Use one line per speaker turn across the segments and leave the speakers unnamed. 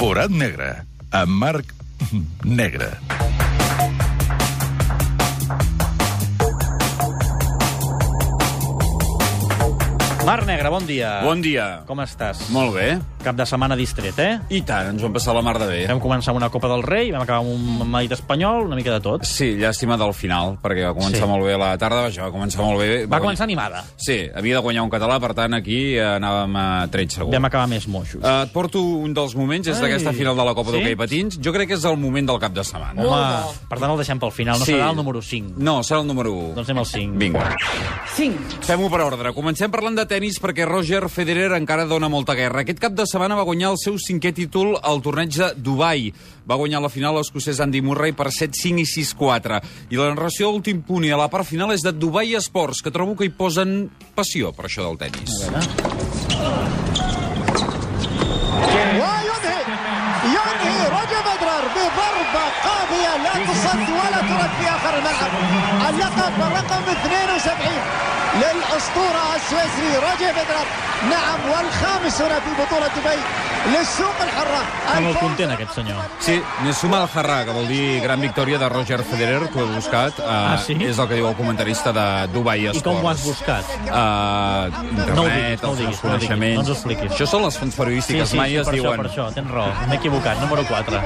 Forat negre, amb Marc Negre.
Marc Negre, bon dia.
Bon dia.
Com estàs?
Ah. Molt bé.
Cap de setmana distret, eh?
I tant, ens ho hem passat la mar de bé.
Vam començar amb una Copa del Rei, vam acabar amb un Madrid espanyol, una mica de tot.
Sí, llàstima del final, perquè va començar
Sí.
molt bé la tarda, vaja, va començar molt bé.
Va
guanyar-
començar animada.
Sí, havia de guanyar un català, per tant, aquí eh, anàvem a tret segur.
Vam acabar més moixos.
Eh, et porto un dels moments, és
Ai.
d'aquesta final de la Copa
Sí? Oh.
d'Hockey Patins. Jo crec que és el moment del cap de setmana.
Home, per tant el deixem pel final, no
Sí.
serà el número 5.
No, serà el número 1.
Doncs anem al 5.
Vinga. 5. Fem-ho per ordre. Comencem parlant de tennis perquè Roger Federer encara dona molta guerra. Aquest cap de setmana va guanyar el seu cinquè títol al torneig de Dubai. Va guanyar la final l'escocès Andy Murray per 7-5 i 6-4. I la narració a últim punt i a la part final és de Dubai Esports, que trobo que hi posen passió per això del tennis.
وينهي ينهي رجل بدرر بضربة قاضية لا تصد ولا ترد في آخر الملعب اللقب الرقم 72 للأسطورة السويسري رجل بدرر نعم والخامس هنا في بطولة دبي للسوق الحرة
Està molt
الفوز-
content aquest senyor.
Sí, Nesuma al Harra, que vol dir gran victòria de Roger Federer, que ho he buscat. Uh,
Ah, sí?
És el que diu el comentarista de Dubai
I
Esports.
com ho has buscat?
Uh, internet,
No ho diguis, no ho diguis, no ho
els seus
diguis,
coneixements...
no ens ho expliquis.
Això són les fonts periodístiques, mai es
per això,
diuen...
per això, tens raó. M'he equivocat, número 4.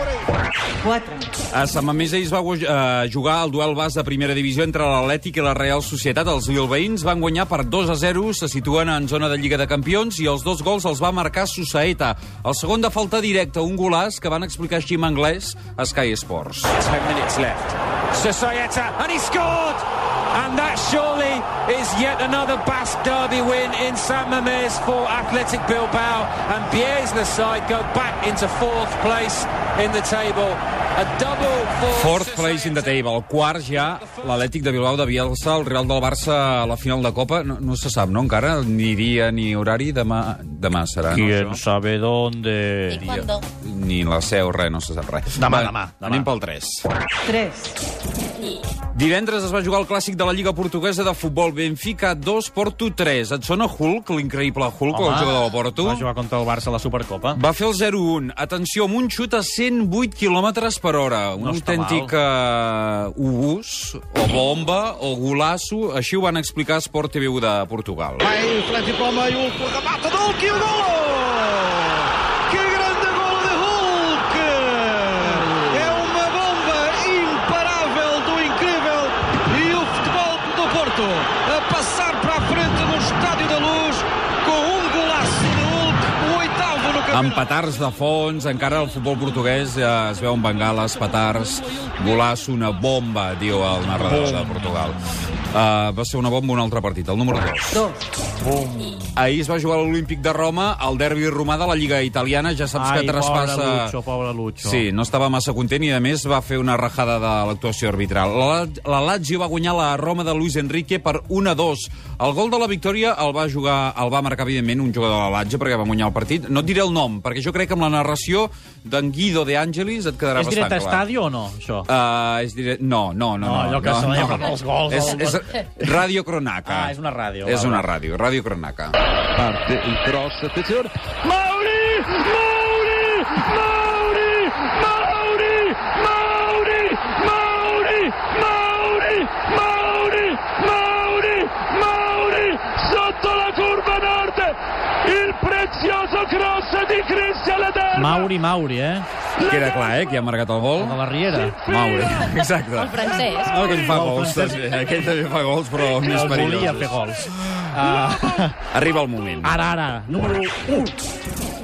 4.
A Sant Mamés ahir es va gu- eh, jugar el duel bas de primera divisió entre l'Atlètic i la Real Societat. Els bilbaïns van guanyar per 2 a 0, se situen en zona de Lliga de Campions i els dos gols els va marcar Susaeta. El segon de falta directa, un golaç que van explicar així en anglès a Sky Sports.
10 minutes left. Societa, and he scored! And that surely is yet another Basque derby win in San Mamés for Athletic Bilbao. And Bies the side go back into fourth place in the table. A double for
Fourth place in the table. El quart ja, l'Atlètic de Bilbao devia alçar el Real del Barça a la final de Copa. No, no se sap, no, encara? Ni dia ni horari. Demà, demà serà, no? Això?
sabe dónde...
Dia. Ni la seu, res, no se sap res.
Demà,
Va,
demà, demà.
Anem pel 3.
3.
Divendres es va jugar el clàssic de la Lliga Portuguesa de Futbol Benfica 2, Porto 3. Et sona Hulk, l'increïble Hulk, el jugador del Porto?
Va jugar contra el Barça a la Supercopa.
Va fer el 0-1. Atenció, amb un xut a 108 km per hora. Un
No està
autèntic uh, obús, o bomba, o golaço. Així ho van explicar a Sport TV1 de Portugal.
Vai frente para o meio, Hulk, o remate do Hulk e o golo! Que grande golo de Hulk! É uma bomba imparável do incrível e o futebol do Porto a passar para a frente no Estádio da Luz com um golaço de Hulk, o oitavo no
Amb
campeonato.
petards de fons, encara el futbol portuguès eh, es veu en bengales, petards, golaço, una bomba, diu el narrador de Portugal. Uh, va ser una bomba un altre partit, el número 2.
2.
Ahir es va jugar a l'Olímpic de Roma, el derbi romà de la Lliga Italiana, ja saps
Ai,
que traspassa...
pobre Lucho, pobre Lucho.
Sí, no estava massa content i, a més, va fer una rajada de l'actuació arbitral. La, la Lazio va guanyar la Roma de Luis Enrique per 1-2. El gol de la victòria el va jugar el va marcar, evidentment, un jugador de la Lazio perquè va guanyar el partit. No et diré el nom, perquè jo crec que amb la narració d'en Guido de Angelis et quedarà
És
bastant
directe a
clar.
estadi o no, això?
Uh, és dire... No, no, no.
No, allò que se veia amb els gols,
És,
el-
és Radio Cronaca.
Ah, és una ràdio,
És
va,
una
va.
ràdio, Radio Cronaca.
parte il cross, attenzione, Mauri, Mauri, Mauri, Mauri, Mauri, Mauri, Mauri, Mauri, Mauri, Mauri, sotto la curva nord, il prezioso cross di Cristian Lederma.
Mauri, Mauri, eh?
Queda clar, eh, qui ha marcat el gol?
El de la Riera.
Mauri, exacte. El francès. No, aquell fa
El
gols,
francès.
també. Aquell també fa gols, però més
El volia fer gols.
perillosos.
Uh,
Arriba el moment.
ara, ara, número 1.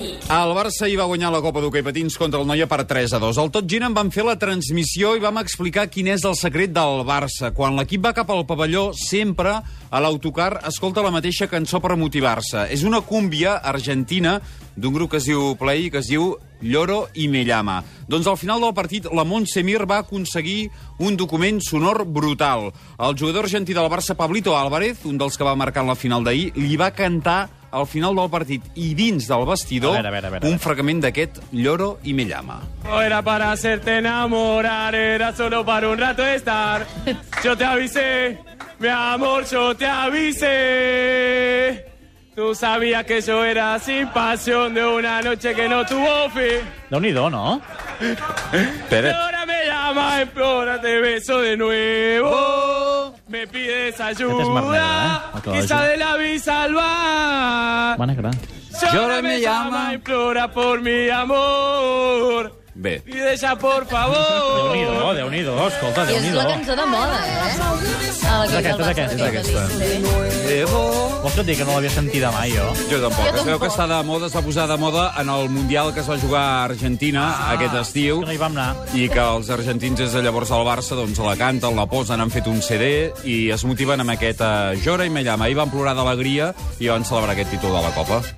El Barça hi va guanyar la Copa d'Hockey Patins contra el Noia per 3 a 2. Al Tot Gira en van fer la transmissió i vam explicar quin és el secret del Barça. Quan l'equip va cap al pavelló, sempre a l'autocar escolta la mateixa cançó per motivar-se. És una cúmbia argentina d'un grup que es diu Play, que es diu Lloro i Me Llama. Doncs al final del partit, la Montse Mir va aconseguir un document sonor brutal. El jugador argentí del Barça, Pablito Álvarez, un dels que va marcar en la final d'ahir, li va cantar al final del partit i dins del vestidor
A veure, a veure, a veure.
un fragment d'aquest Lloro i me llama.
No era para hacerte enamorar, era solo para un rato estar. Yo te avisé, mi amor, yo te avisé. Tú sabías que yo era sin pasión de una noche que no tuvo fin.
Déu-n'hi-do, no?
Y
Pérez.
ahora me llama, implora, te beso de nuevo. Me pides
Este es
ayuda,
Marneda, ¿eh? Acaba de
quizá
decir.
de la vi salvar.
Va negre.
Y ahora me llama, implora por mi amor.
Bé,
Pide ya, por favor.
Déu-n'hi-do, Déu-n'hi-do, escolta,
I és la
Déu-n'hi-do.
cançó de moda, eh? Ah, la
aquesta,
cançó del
és
Barça,
aquesta.
sí.
Vols que et digui que no l'havia sentida mai, jo?
jo tampoc.
Jo
Es veu
tampoc.
que està de moda, es va posar de moda en el Mundial que es va jugar a Argentina aquest
Que
estiu
no hi vam anar.
i que els argentins des de llavors al Barça doncs la canten, la posen, han fet un CD eh, i es motiven amb aquesta Jora i Me Llama. Ahir van plorar d'alegria i van celebrar aquest títol de la Copa.